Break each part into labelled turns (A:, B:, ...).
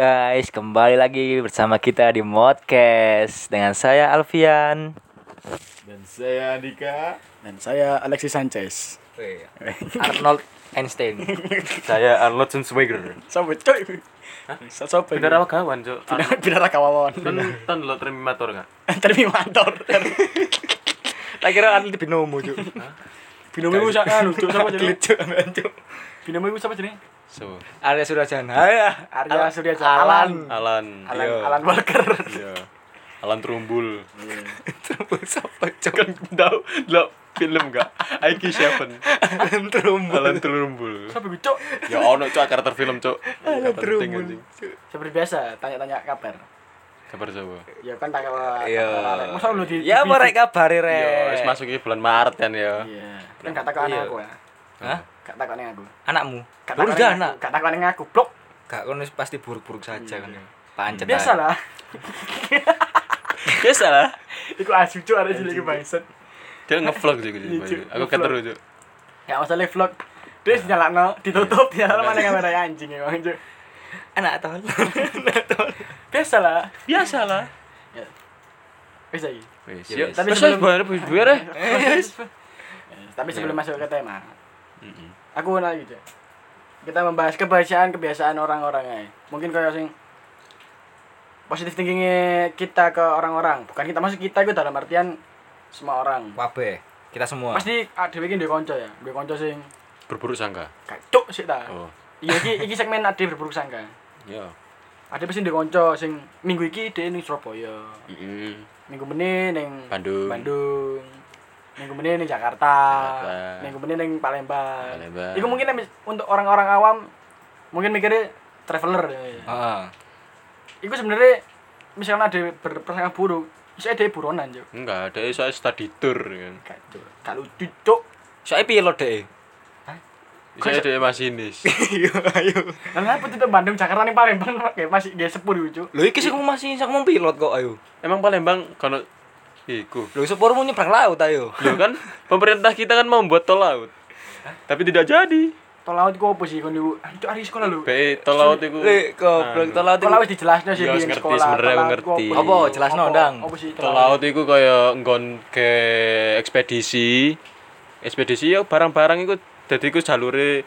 A: Guys, kembali lagi bersama kita di Modcast dengan saya Alfian.
B: Dan saya Andika.
C: Dan saya Alexis Sanchez.
A: Arnold Einstein.
D: Saya Arnold Schwarzenegger.
C: Sampai coy. Sa- Sampai.
D: Bener apa kawan, Cuk? Arnold.
C: Bidara kawawan.
D: Kan kan lo terminator enggak?
C: Termi mantor.
A: Tak kira Arnold binomo juga.
C: Binomu sak anu, Cuk, sapa jenenge?
A: Lucu banget.
C: Binomu sapa jenenge?
D: So,
A: Arya Suryajana. Ya,
C: Arya Suryajana. Alan.
D: Alan.
C: Alan,
D: Iya.
C: Alan Walker.
D: Iya. Alan Trumbul.
A: Terus siapa cok?
D: Kan tahu lo film enggak? IQ 7.
A: Terus
D: Alan Trumbul.
C: Sampai gue, Cuk.
D: Ya ono cuk karakter film cuk. Alan
A: Trumbul.
C: Seperti biasa, tanya-tanya kabar.
D: Kabar coba.
C: Ya kan tak kabar.
A: Iya.
C: Masa lu di
A: Ya
C: di-
A: mereka kabari
D: Iya,
A: rek.
D: wis masuk ke bulan Maret kan ya.
C: Iya. Kan gak takon
A: Iya.
C: aku ya.
A: Hah?
C: Gak takon aku.
A: Anakmu.
C: Gak
A: Lu
C: takoni
A: udah
C: aku.
A: anak.
C: Gak takon aku, blok.
A: Kak kan pasti buruk-buruk saja kan. Pancet. aja.
C: Biasalah.
A: Biasa lah.
C: Iku asu Cuk, ada cilik bangset.
D: Dia ngevlog sih gitu.
C: Cuk,
D: Aku
C: ngevlog.
D: keteru cuk.
C: Gak masalah vlog. Terus nyalakno, ditutup, nyalakno mana kamera anjing ya, Bang, Cuk.
A: Anak tol.
C: Biasalah.
D: Biasalah.
C: Wis iki.
D: Wis.
A: Ya,
D: Yuk,
A: wis.
C: Tapi
D: terus
C: sebelum-
D: bayar bu- bayar eh.
C: Eh, Tapi sebelum
D: Iya.
C: masuk ke tema,
D: Mm-mm.
C: aku mau nanya gitu. Kita membahas kebiasaan kebiasaan orang-orang aja. Mungkin kayak sing positif thinkingnya kita ke orang-orang. Bukan kita masuk kita itu dalam artian semua orang.
A: Wabe. Kita semua.
C: Pasti ada bikin dua konco ya, dua konco sing
D: Berburuk sangka.
C: kacuk sih ta.
D: Oh.
C: Iya, iki, iki segmen ada berburuk sangka.
D: Iya.
C: Ada pasti dua konco sing minggu iki dia ning Surabaya,
D: Heeh.
C: minggu meni ning
D: Bandung.
C: Bandung. Minggu meni ning Jakarta.
D: Jakarta.
C: Minggu meni ning Palembang.
D: Palembang.
C: Iku mungkin em- untuk orang-orang awam mungkin mikirnya traveler. ya.
A: Heeh.
C: Iku sebenarnya misalnya ada berprasangka buruk, saya ada buronan cuk.
D: Enggak, ada saya study tour kan.
C: Gak cuk. Gak lucu cuk.
A: Soalnya piye lo deh?
D: Saya ada masinis.
A: Iya, ayo.
C: Lah apa itu Bandung Jakarta ning Palembang kayak masih dia sepur iku cuk.
A: Lho iki sing masih sing mau pilot kok ayo.
D: Emang Palembang kalau iku.
A: Lho sepur mau nyebrang laut ayo.
D: Loh kan pemerintah kita kan mau membuat tol laut. Tapi tidak jadi.
C: Tol laut ku opo sih kon iku? Ah, Cuk hari sekolah lu.
D: BE tol laut iku.
A: Lek goblok tol laut.
C: Nah, Kok
A: iku-
C: lawis dijelasno sih
D: Iya,
C: biyen
D: ngerti,
C: sekolah. tol
D: sebenarnya aku
C: laut ku
D: ngerti.
C: iku?
A: Apa, jelasno,
C: Apa-
A: Ndang?
C: Apa sih
D: Nah, Tol laut iku kaya nggon ke ekspedisi. Ekspedisi ya barang-barang iku dadi iku jalure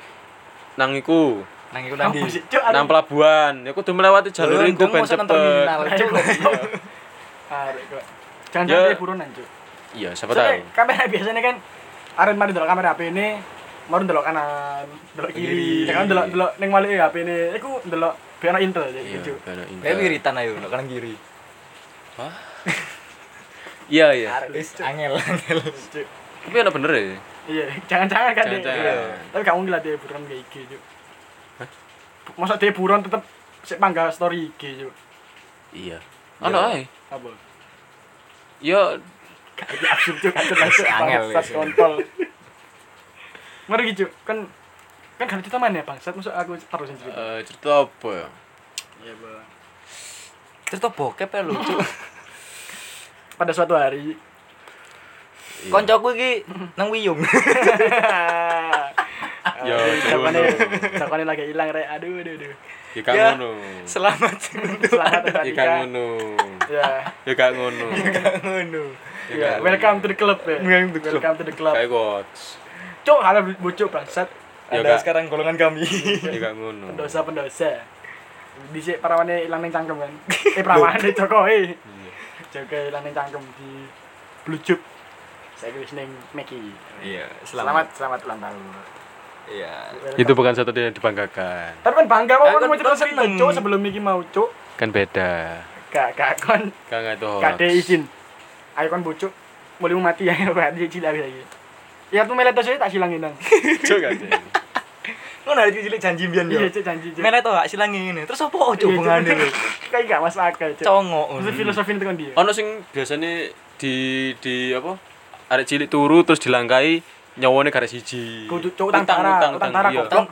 D: nang iku
A: Nang iku nang
C: Apa
A: ndi?
C: sih cuk?
D: nang pelabuhan. Ya kudu melewati jalur
A: Lho,
D: iku
A: ndang
D: ben
A: masa nang terminal,
D: cepet.
A: cuk.
C: Arek kok. Jangan-jangan
D: Ya.
C: dia buronan cuk.
D: Iya, siapa
C: Soalnya
D: tahu.
C: kamera biasanya kan arep mari delok kamera HP ini, mari delok kanan, delok kiri,
D: Kiri.
C: ya kan delok delok ning malike HP ini, iku delok biar ana intel ya
D: Iya,
C: gitu.
D: kalau ini.
A: Kayak wiritan ayo nang kanan kiri.
D: Iya, iya.
C: Arek, cuk.
A: Angel, angel.
C: Cuk.
D: Tapi ana bener ya.
C: Iya, jangan-jangan kan deh.
D: Jangan-jangan.
C: Iya. Tapi gak mungkin lah dia buron kayak IG cuk. Masa dia buron tetep sik panggah story IG cuk.
D: Iya. Ana ae.
C: Apa?
D: Ya
C: Jadi absurd cuk, kacau masuk
A: Angel,
C: bangsat
A: iya.
C: kontol. Mari gitu, kan kan kalau kita main ya bangsat, maksud aku taruh sendiri.
D: eh, cerita apa ya?
C: Iya, Bang.
A: Cerita bokep ya lu.
C: Pada suatu hari,
D: Iya.
A: Koncoku iki nang Wiyung.
D: Ya,
C: Jawabannya,
D: jodoh.
C: jawabannya lagi hilang rek. Aduh, aduh, aduh.
D: Ya gak
A: Ya.
D: ngono.
A: Selamat
C: Selamat untuk
D: Ya
C: Andika.
D: gak ngono.
C: Ya,
D: Ya gak ngono.
A: ngono.
C: ya. Welcome to the club ya.
A: Welcome to the club.
C: Welcome to the club.
D: Kayak watch.
C: Cuk, halo bocok bangsat.
D: Ya
A: Anda
D: gak-
A: sekarang golongan kami.
D: Ya gak ngono.
C: Pendosa pendosa. Dhisik parawane ilang ning cangkem kan. Eh parawane Jokowi. Joko ilang ning cangkem di blujuk. Saya wis ning Meki.
A: Iya, selamat.
C: Selamat selamat ulang tahun.
A: Iya.
C: Welcome.
D: Itu bukan satu yang dibanggakan.
C: Tapi kan bangga
A: Eh,
C: mau kan
A: kan
C: mau cerita
A: kan
C: cerita
A: seneng.
C: cuk sebelum Miki mau cuk.
D: Kan beda.
C: Gak gak kon
D: Kan gak itu hoax.
C: Kade izin. Ayo kon bocok. Boleh mau mati ya, mati cilik lagi lagi. Ya tuh melet saya tak silangin nang.
D: Cuk, gak ada.
A: Ngono ada cilik janji mbiyen yo.
C: Iya, cek janji. Cuk.
A: Melet to gak silang ngene. Terus apa ojo
C: Iya, Cuk.
A: bengane lu?
C: Kayak gak masuk akal, Cuk.
A: Congo.
C: Maksud filosofi itu kan dia.
D: Ono sing biasanya di di apa? Arek cilik turu terus dilangkai nyawane karek siji.
C: Kudu cuk utang tara, utang tara
D: iya.
C: goblok.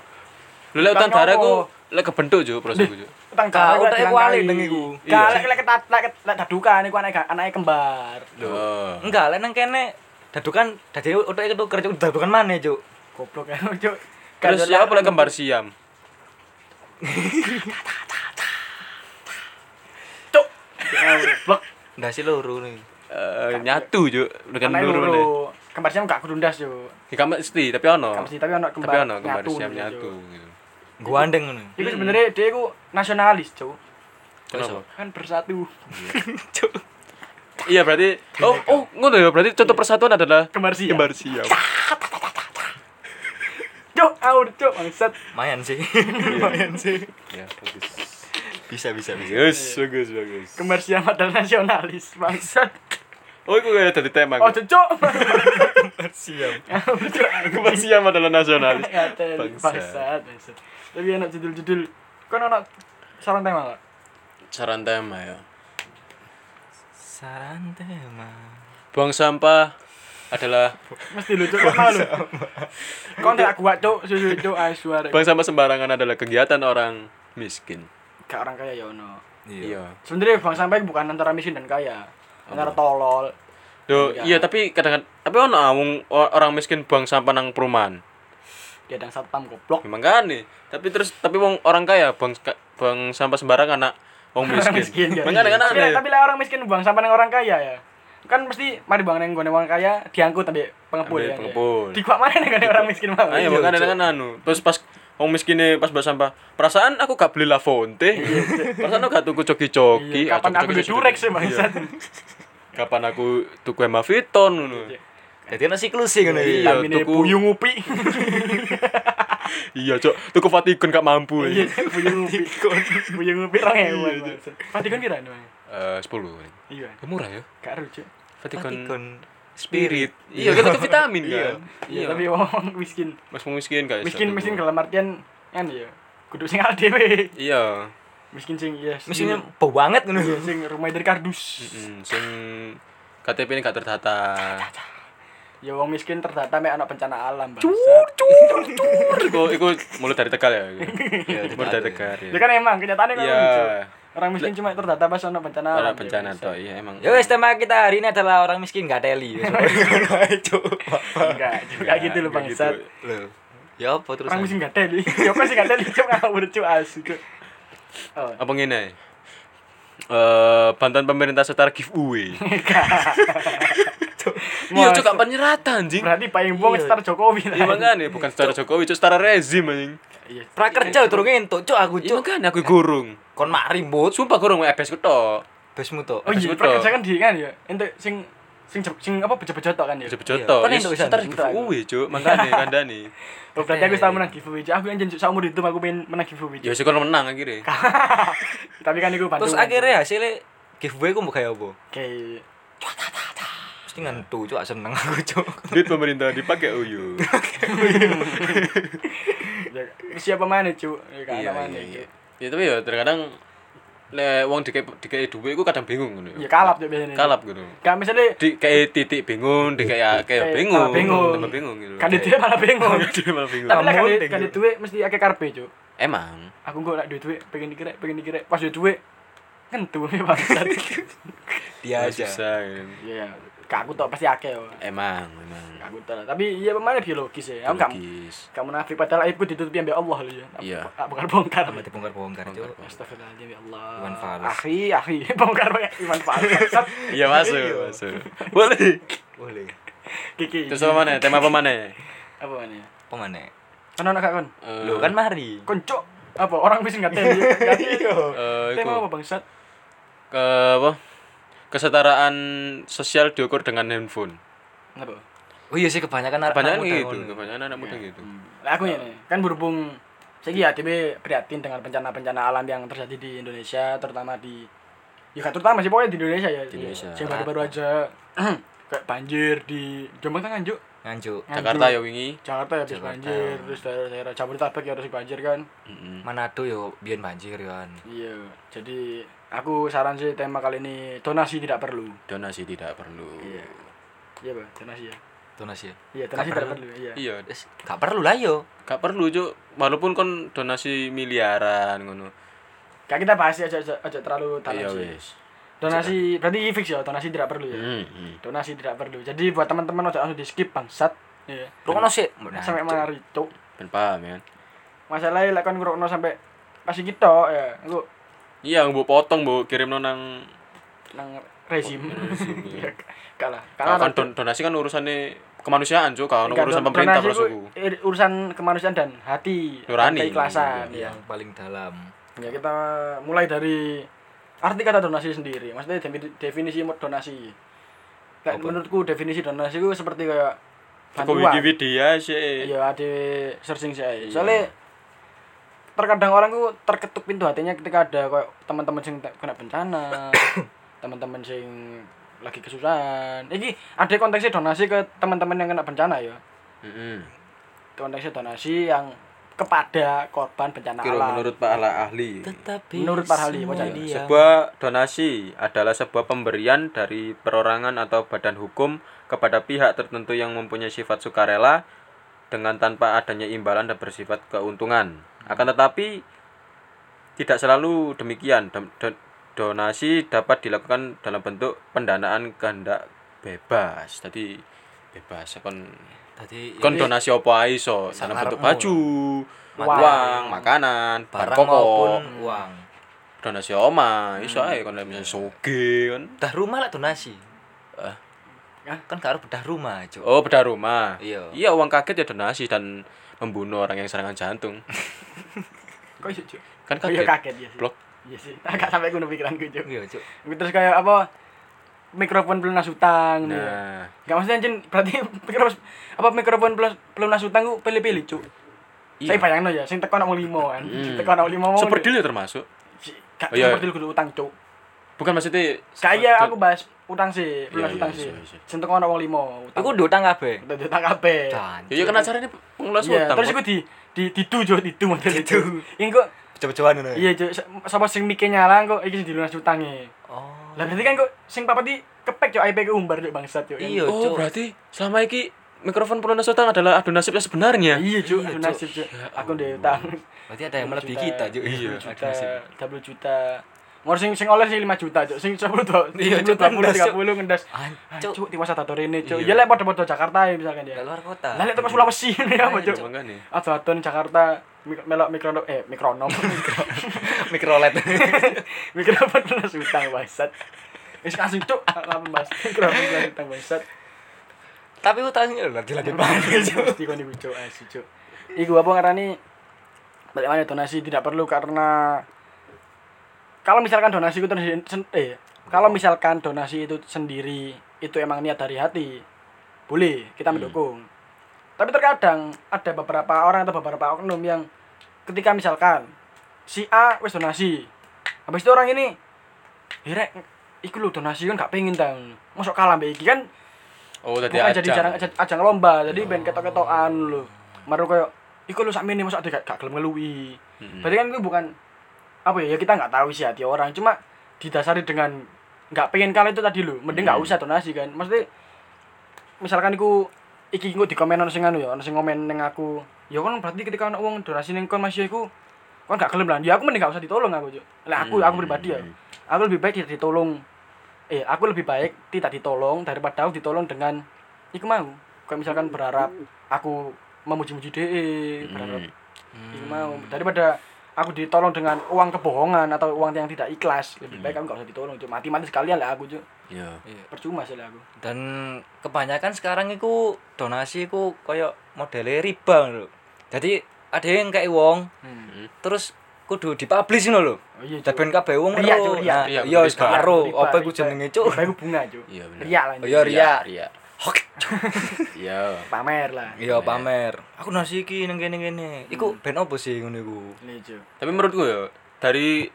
D: Lho lek utang
C: Utang
D: tara
C: nyawa.
D: ku lek kebentuk juk proseku juk.
C: Utang
A: Kak,
C: tara.
A: utak iku alik nang iku.
D: Iya.
C: Kalek lek ketat lek ket- lek dadukan iku anake anake kembar.
D: Lho.
A: Enggak, lek nang kene dadukan dadi utek ketuker cuk dadukan maneh cuk.
C: Goblok kan, Cuk.
D: Terus siapa lek kembar siam?
C: Blok.
A: Ndase loro nih.
D: Eh, nyatu juk dengan
C: Anaknya
D: loro.
C: loro. Kembar siam gak kerundas yo.
D: Iki mesti tapi ono.
C: Kamu sih tapi ono
D: Oh. Tapi
C: kembar.
D: ono kembar
C: nyatu
D: siam
C: gitu,
D: nyatu
C: Cuk.
D: gitu.
A: Gua andeng ngono.
C: Iku sebenarnya dia iku nasionalis, Cuk.
D: Kenapa?
C: Kan bersatu.
D: Iya berarti oh oh ngono ya berarti contoh persatuan adalah
C: Kembar siam.
D: kembar siam.
C: Cuk, out, Cuk, bangsat.
A: Mayan sih. Mayan sih.
D: Ya bagus.
A: Bisa bisa bisa.
D: Bagus bagus bagus.
C: Kembar siam adalah nasionalis, bangsat.
D: Oh iku kayak dari tema.
C: Oh,
D: iku.
C: Cuk.
A: Siap.
D: Kembar siam adalah nasionalis.
C: Ngaten, Ya, bangsat, bangsat. Tapi enak judul-judul. Kan ono saran tema gak?
D: Saran tema ya.
A: Saran tema.
D: Buang sampah adalah
C: Mesti lucu kan malu. Kau tidak kuat, Cuk. Susu, Cuk, ayo suara.
D: buang sampah sembarangan adalah kegiatan orang miskin.
C: Gak orang kaya ya ono.
D: Iya.
C: Sebenarnya bang sampai bukan antara miskin dan kaya. Antara tolol.
D: Do, iya tapi kadang-kadang tapi ono awung o- orang miskin buang sampah nang perumahan.
C: Dia dan satpam goblok.
D: Memang kan nih. Tapi terus tapi wong orang kaya buang ska- buang sampah sembarangan nak wong miskin.
C: ya.
D: Memang kadang-kadang
C: Tapi-
D: aneh.
C: Tapi lah orang miskin buang sampah nang orang kaya ya. Kan mesti mari bang neng gone orang kaya diangkut tapi pengepul
D: Ambil
C: ya.
D: pengepul.
C: Di kuak mana neng gone orang miskin Iya, mau.
D: Ayo makan dengan anu. Terus pas wong miskinnya pas buat sampah. Perasaan aku gak beli La Fonte. Perasaan aku gak tuku
C: Iya,
D: coki-coki. Ah,
C: Kapan aku
D: coki-coki,
C: di durek sih
D: coki-coki.
C: bangsat.
D: Iya. Kapan aku tuku Emma Vuitton ngono.
C: Iya,
A: Jadi ana siklusé ngono iki.
D: Iya,
C: Tamine
D: tuku.
C: puyung upi.
D: Iya, Cok. Tuku Vatikan gak mampu.
C: Iya,
D: Eh,
C: puyung upi. Puyung upi rong ewan.
D: Iya,
C: bangsat. Patikon kan kira nih.
D: 10.
C: Iya.
D: Eh, Ya murah ya.
C: Gak lucu.
D: Vatikan
A: Tikon.
D: Spirit. Iya, kan itu vitamin kan.
C: Iya, tapi wong miskin.
D: Mas wong miskin guys.
C: Miskin miskin dalam artian kan ya. Kudu sing awake dhewe.
D: Iya.
C: Miskin sing yes.
A: Mesinnya bau banget ngono.
C: Iya, sing rumah dari kardus.
D: Mm, Sing KTP ini gak terdata.
C: Ya wong miskin terdata mek anak bencana alam, Bang.
D: Iku iku mulai dari Tegal ya. iku. Iya, mulai dari Tegal. ya.
C: Ya kan emang kenyataannya kan
D: Iya.
C: lucu. Orang miskin cuma terdata pas anak bencana alam.
D: Para
C: ya,
D: bencana
C: Bang.
D: toh, iya emang.
A: Ya wis tema kita hari ini adalah orang miskin gak teli.
C: Enggak, juga
D: Iya,
C: gitu loh
D: kayak
C: bangsat.
D: gitu.
A: Loh. Ya apa terus?
C: Orang miskin gak ada li. Ya kok sih gak ada li cuk ngawur cuk asu cuk. Oh,
D: Apa ngene? Eh, bantuan pemerintah setara giveaway. Iya, cok, gak penyeratan anjing.
C: berarti paling buang star Jokowi
D: Iya
C: lah.
D: makanya bukan setara Jokowi, cok setara rezim anjing.
C: Iya.
A: prakerja turun entuk cuk aku
D: Iya
A: cuk.
D: makanya aku gorong.
A: Kon mak rimbut
D: Sumpah gorong wae abes ketok.
A: besmu tok.
C: Oh iya,
D: Betul.
C: prakerja kan di kan ya. Entek sing sing jeb- sing apa bejo-bejo tok kan ya.
D: Bejo-bejo
A: Iya.
D: toh.
A: Kan
D: Iya,
A: entuk
D: Setara
A: pisan.
D: giveaway, cok. Makanya kandani.
C: Oh, berarti aku
D: Iya.
C: tahu menang giveaway. Cuk. Aku anjen cuk seumur hidup aku pengen menang giveaway. Cuk.
D: Ya wis kon menang akhirnya.
C: Tapi kan iku bantu.
A: Terus akhirnya hasilnya giveaway ku mbok gawe apa?
C: Oke.
A: Mesti ngentu cuk gak seneng aku cuk.
D: Duit pemerintah dipakai oh, iya. uyu.
C: Ya, siapa mana cuk ya kan
D: Iya,
C: ada mana
D: iya, iya.
C: cuk
D: Ya tapi ya terkadang le wong dikei dikei duwe iku kadang bingung ngono.
C: ya kalap cuk biasanya
D: Kalap ngono.
C: gak misalnya
D: di kayak titik bingung di kayak kayak
C: Kayak
D: bingung
C: tambah bingung.
D: tambah bingung gitu
C: kan di duit malah bingung
D: Jadi malah bingung
C: tapi lah kan
A: Tambah
C: di- kan di duit mesti akeh karpe cuk
D: emang
C: aku gue lak duit duit pengen dikerek pengen dikerek pas duit duit kentu ya bangsat
A: Dia Ya, aja.
D: susah gitu.
C: iya gak aku tau pasti akeh yo
D: emang emang
C: Gak aku tau tapi iya pemainnya biologis ya aku gak
D: logis
C: gak munafik padahal aibku ditutupi ambil Allah lho ya
D: Iya.
C: tak bakal bongkar
A: Tambah dibongkar-bongkar cuk.
C: Astagfirullahaladzim ya
A: Iwan
C: Allah
A: Fals.
C: Akhi, akhi Bongkar ya. pakai Iwan Fals bangsat.
D: iya masuk masuk boleh
A: Boleh.
C: Kiki
D: terus apa mana tema apa mana
C: Apa mana
A: Apa maneh?
C: Kan anak kak kon
A: Lho kan mari.
C: Koncok Apa orang bisa gak teli Gak teli
D: Eh, iku,
C: Tema apa bangsat?
D: ke apa kesetaraan sosial diukur dengan handphone
C: Apa?
A: Oh iya sih kebanyakan anak
D: kebanyakan
A: muda
D: gitu
A: ngono.
D: kebanyakan anak muda gitu
C: Lah aku ini kan berhubung saya ya DB prihatin dengan bencana-bencana alam yang terjadi di Indonesia terutama di ya gak terutama sih pokoknya di Indonesia ya. Di
D: Indonesia.
C: Yang baru-baru aja kayak banjir di Jombang kan Nganjuk.
A: Nganjuk.
C: Nganjuk.
D: Jakarta ya wingi
C: Jakarta ya habis
A: Jakarta.
C: banjir, terus daerah-daerah Jabodetabek ya harus banjir kan.
A: Manado yo biyen banjir yo kan.
C: Iya, jadi aku saran sih tema kali ini donasi tidak perlu.
D: donasi tidak perlu
C: Iya. Iya, Pak, donasi ya.
A: Tunas ya.
C: Iya, donasi
A: Gak
C: tidak
A: perlu.
C: perlu. Iya.
D: iya
A: Wis gak perlu lah yo.
D: gak perlu cuk walaupun kon donasi miliaran ngono
C: Kayak kita bahas ya, aja aja terlalu dalam
D: iya
C: sih.
D: wis
C: Donasi berarti fix ya, donasi tidak perlu ya.
D: Hmm, hmm.
C: donasi tidak perlu jadi buat teman-teman ojo langsung di skip bangsat iya
A: Rungokno sik.
D: Nah,
C: sampai mana itu
D: Ben paham ya.
C: masalahnya lek kon ngrokno sampai masih gitu ya aku
D: Iya, mbok potong, mbok kirimno nang
C: nang rezim.
D: rezim, iya.
C: Ya, kalah. Kalah.
D: kan don- donasi kan urusannya kemanusiaan cuk kalau
C: Enggak,
D: urusan
C: don-
D: pemerintah
C: donasi
D: terus
C: ku
D: aku
C: ir- urusan kemanusiaan dan hati
D: Nurani. Iya.
C: dan keikhlasan ya.
A: yang paling dalam
C: ya kita mulai dari arti kata donasi sendiri maksudnya defi- definisi mo- donasi Kayak menurutku definisi donasi itu seperti kayak
D: aku
C: bantuan
D: Wikipedia sih
C: ya ada searching saya soalnya terkadang orang itu terketuk pintu hatinya ketika ada kayak teman-teman sing te- kena bencana teman-teman sing lagi kesusahan ini ada konteksnya donasi ke teman-teman yang kena bencana ya
D: Mm-mm.
C: konteksnya donasi yang kepada korban bencana
D: kira
C: alam
D: menurut Pak Ala Ahli
A: tetapi
C: menurut Parhali wajar ya?
D: Iya, Sebuah donasi adalah sebuah pemberian dari perorangan atau badan hukum kepada pihak tertentu yang mempunyai sifat sukarela dengan tanpa adanya imbalan dan bersifat keuntungan. Akan tetapi tidak selalu demikian. Dem- do- Donasi dapat dilakukan dalam bentuk pendanaan kehendak bebas. Tadi bebas kon
A: tadi
D: kon donasi opo ae iso dalam
A: Sangarepmu.
D: bentuk baju,
C: Uang.
D: uang, makanan, bahan
A: barang
D: pokok
A: maupun uang
D: donasi oma iso ae kon lek misalnya soge kan
A: bedah rumah lah donasi
C: Hah?
A: kan gak harus bedah rumah cuk
D: oh bedah rumah
A: Iya.
D: iya uang kaget ya donasi dan membunuh orang yang serangan jantung
C: kok iso, Cuk?
D: kan
C: Oh, iya,
D: kaget,
C: kaget ya sih.
D: blok
C: Iya sih. Agak sampai gue pikiran gue juga.
A: iya cuk
C: Terus kayak apa? Mikrofon pelunas hutang. gitu ya.
D: nah
C: Gak maksudnya anjing, berarti mikrofon apa mikrofon pelus- pelunas hutang gue pilih-pilih, Cuk.
D: Iya. Hmm.
C: Saya bayangno ya, sing teko nang limo kan. Sing teko nang limo mau.
D: super deal ya termasuk
C: Si- Gak
D: Oh, iya,
C: seperti kudu utang, Cuk.
D: bukan maksudnya
C: Kayak aku
D: Don-
C: bahas utang sih, pelunas
D: iya,
C: hutang
D: iya,
C: sih.
D: iya, iya.
C: Sing teko nang wong limo utang.
A: aku ndutang kabeh
C: Udah utang kabeh.
A: dan
D: iya kan acaranya pengelas
C: Iya,
D: utang
C: terus gue di di didu Cuk, didu model itu. Yang kok
A: coba-cobaan ngono ya?
C: iya, Cuk, sapa sing mike nyala kok iki sing dilunas hutange.
A: oh
C: Lah berarti kan kok sing papati kepek yo IP keumbar yo bangsat yo.
A: iya
D: oh
A: cuk
D: berarti selama ini mikrofon pelunas utang adalah adu nasib yang sebenarnya
C: Iya cuy, aku nasib cuy. Aku ndek utang.
A: berarti ada Nah, yang melebihi kita cuk
D: Iya.
C: 10 juta, 30 juta. Ngor sing sing oleh sing 5 juta cuy. Sing 10 to.
A: Iya,
C: Iya
A: Cuk,
C: 20
A: ngendas, Cuk. Iya.
C: 30 ngendas. Nah,
A: ancuk
C: Cuk, tiwas tato rene cuy. Ya lek padha-padha Jakarta ya misalkan
A: dari
C: ya.
A: luar kota
C: Lah lek teko Sulawesi ngene
A: Iya,
C: ya apa cuy.
D: Makanya.
C: Atuh-atuh Jakarta mik- melok mikronom eh mikronom.
A: mikrolet
C: Mikrofon terus utang bangsat. Wis kasih cuk, apa Mas? Mikrofon terus utang bangsat.
A: tapi utangnya lho lagi banget cuk
C: Mesti kon iku cuk, asu eh, cuk. Iku apa ngarani bagaimana donasi tidak perlu karena kalau misalkan donasi itu tersi- sen- eh kalau misalkan donasi itu sendiri itu emang niat dari hati boleh kita mendukung tapi terkadang ada beberapa orang atau beberapa oknum yang ketika misalkan si A wis donasi habis itu orang ini hirek iku lu donasi kan gak pengen tang masuk kalah mbak iki kan
D: oh tadi
C: Bukan
D: aja
C: jadi jarang ajang, ajang lomba, jadi ben ketok-ketokan lho. Maru koyo iku lu sakmene mosok gak gak gelem ngeluwi. Berarti kan itu bukan apa ya, ya kita nggak tahu sih hati orang, cuma didasari dengan nggak pengen kalah itu tadi lho, mending nggak usah donasi kan. Maksudnya misalkan iku iki engko dikomen ono sing anu ya, ono sing ngomen ning aku. Ya kan berarti ketika ono wong donasi ning kon masih iku kon gak gelem lah. Ya aku mending gak usah ditolong aku, Cuk. Lah aku aku pribadi ya. Aku lebih baik tidak ditolong. Eh, aku lebih baik tidak ditolong daripada aku ditolong dengan iku mau. Kayak misalkan berharap aku memuji-muji DE, berharap
A: Hmm.
C: iku mau daripada aku ditolong dengan uang kebohongan atau uang yang tidak ikhlas lebih baik aku
A: Hmm.
C: gak usah ditolong cuk mati-mati sekalian lah aku cuk
D: iya
C: percuma sih lah aku
A: dan kebanyakan sekarang itu donasi itu koyo modelnya riba lho jadi ada yang kayak wong terus kudu dipublish ngono lho
C: Oh iya, Cuk.
A: tapi kabeh wong
C: Riak,
A: ngeru.
C: Cuk, riak.
A: Nah,
D: Riak,
A: iya wis
D: riak,
A: gak karo
C: Riba,
A: apa iku
C: riba.
A: jenenge cuk Oh,
C: Riba iku bunga cuk.
D: Iya, bener.
C: Riak lah.
A: iya riak
D: iya
A: Hok.
D: iya
C: Pamer lah.
A: iya pamer aku donasi iki nang kene kene iku
C: Hmm.
A: ben opo sih ngono iku
C: Ini cuk.
D: Tapi menurutku ya, dari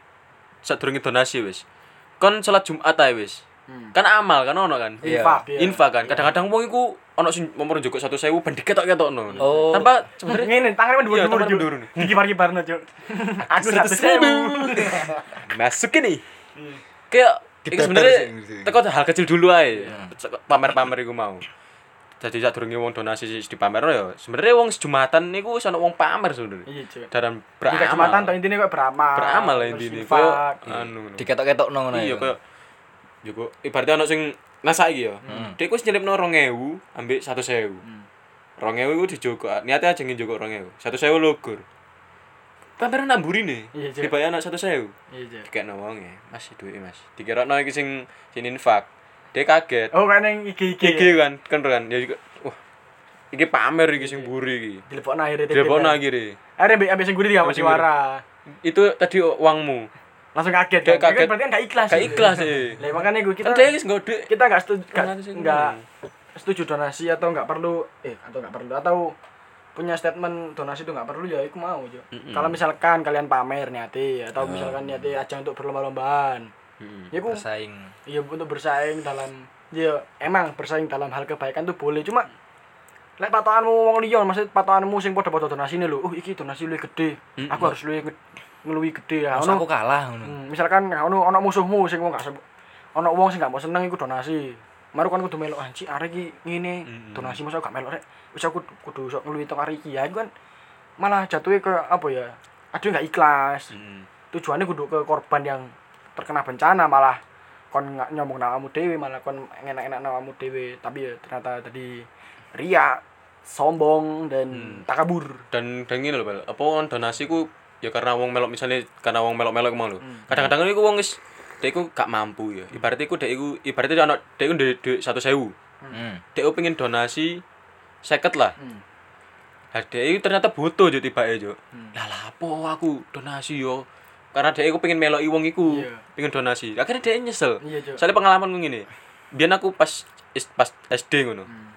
D: sadurunge donasi wis. Kon salat Jumat ae wis. Kan amal kan ono kan.
A: Iya.
C: Hmm. Infak, iya.
D: Infak kan. Kadang-kadang wong iku ono sing momor njukuk 1000 ben diketok-ketokno.
A: Oh.
D: Tanpa sebenarnya
C: Ngene tangannya mendur-mendur
D: Iya, tangan
C: cuk.
D: mendur-mendur.
C: Dikibar-kibarno cuk. Aku satu sewu.
D: masuk ini.
C: Hmm.
D: Kayak iki
A: Dipeper
D: sebenarnya
A: sih, gitu.
D: teko hal kecil dulu ae.
C: Iya.
D: Pamer-pamer iku mau. Jadi sadurunge wong donasi sih dipamerno ya. Sebenarnya wong sejumatan niku wis ono wong pamer sebenarnya.
C: Iya cuk.
D: Dalam
C: Jika jumatan iya. tok
D: beramal.
C: intine kok beramal.
D: Beramal lah
C: Terus
D: intine.
C: infak.
D: Kayak anu. ngono.
A: diketok-ketok ngono
D: Hmm.
A: ya
D: iya kayak ya kok ibaratnya ono sing nasa iki ya. Dek wis nyelipno 2000 ambek
C: Hmm.
D: 1000. 2000 iku dijogok. Niate aja ngen jogok 2000. 1000 lugur. pameran namburi nih
C: Iya, Cuk.
D: dibayar anak satu sewu
C: Iya, Cuk.
D: dikek nawang ya mas duit mas dikira nang iki sing sing infak dia kaget
C: Oh, kan yang iki-iki.
D: iki kan kan kan ya juga wah iki pamer iki
C: Iya.
D: sing buri iki
C: Dilepokno akhirnya titik.
D: telepon lagi deh
C: Akhirnya ambil- ambil sing gurih diawak
D: Ambil sing
C: juara.
D: itu tadi uangmu
C: Langsung kaget.
D: Dia
C: kan? Dia
D: kaget.
C: Kan berarti kan gak ikhlas.
D: kayak
C: Cuk.
D: ikhlas sih
C: Lah makanya gue kita
D: kan dia guys nggak duit
C: Iya. kita nggak setuju nggak-
D: Pengaruh sih,
C: nggak setuju donasi atau nggak perlu eh atau nggak perlu atau punya statement donasi itu nggak perlu ya aku mau Jo. kalau misalkan kalian pamer niati atau misalkan niati aja untuk berlomba-lombaan
D: Hmm.
C: ya aku
A: bersaing
C: ya untuk bersaing dalam ya emang bersaing dalam hal kebaikan tuh boleh cuma lek patokanmu wong liya maksud patokanmu sing padha-padha donasine lho oh iki donasi luwih gede aku harus luwih nge- ngeluwi gede ya
A: Masa
C: Ono-
A: aku kalah ngono
C: Hmm, misalkan ono ono musuhmu sing wong gak sem- ono wong sing gak mau seneng iku donasi. Maru kan kudu melok anci arek iki ngene, donasi masa gak melok rek. Wis aku kudu sok ngluwi tok arek iki ya iku kan malah jatuhnya ke apa ya? Aduh gak ikhlas. Tujuannya kudu ke korban yang terkena bencana malah kon nggak nyombong namamu dewe malah kon enak-enak namamu dewe tapi ya ternyata tadi riak sombong dan takabur
D: dan dan gini loh bel apa kan donasi ku ya karena wong melok misalnya karena wong melok melok emang lo kadang-kadang itu wong is dia ku gak mampu ya ibaratnya ku dia ku ibaratnya anak dia ku duit duit satu sewu
A: hmm.
D: dia ku pengen donasi seket lah
C: Hmm.
D: Nah, dia itu ternyata butuh jo tiba jo.
C: Hmm.
D: Lah lapo aku donasi yo. Karena dia itu pengen meloki wong iku,
C: Iya.
D: pengen donasi. Akhirnya dia nyesel.
C: Iya, Jo.
D: Soalnya pengalaman gue gini. Biar aku pas is- pas SD ngono.
C: Hmm.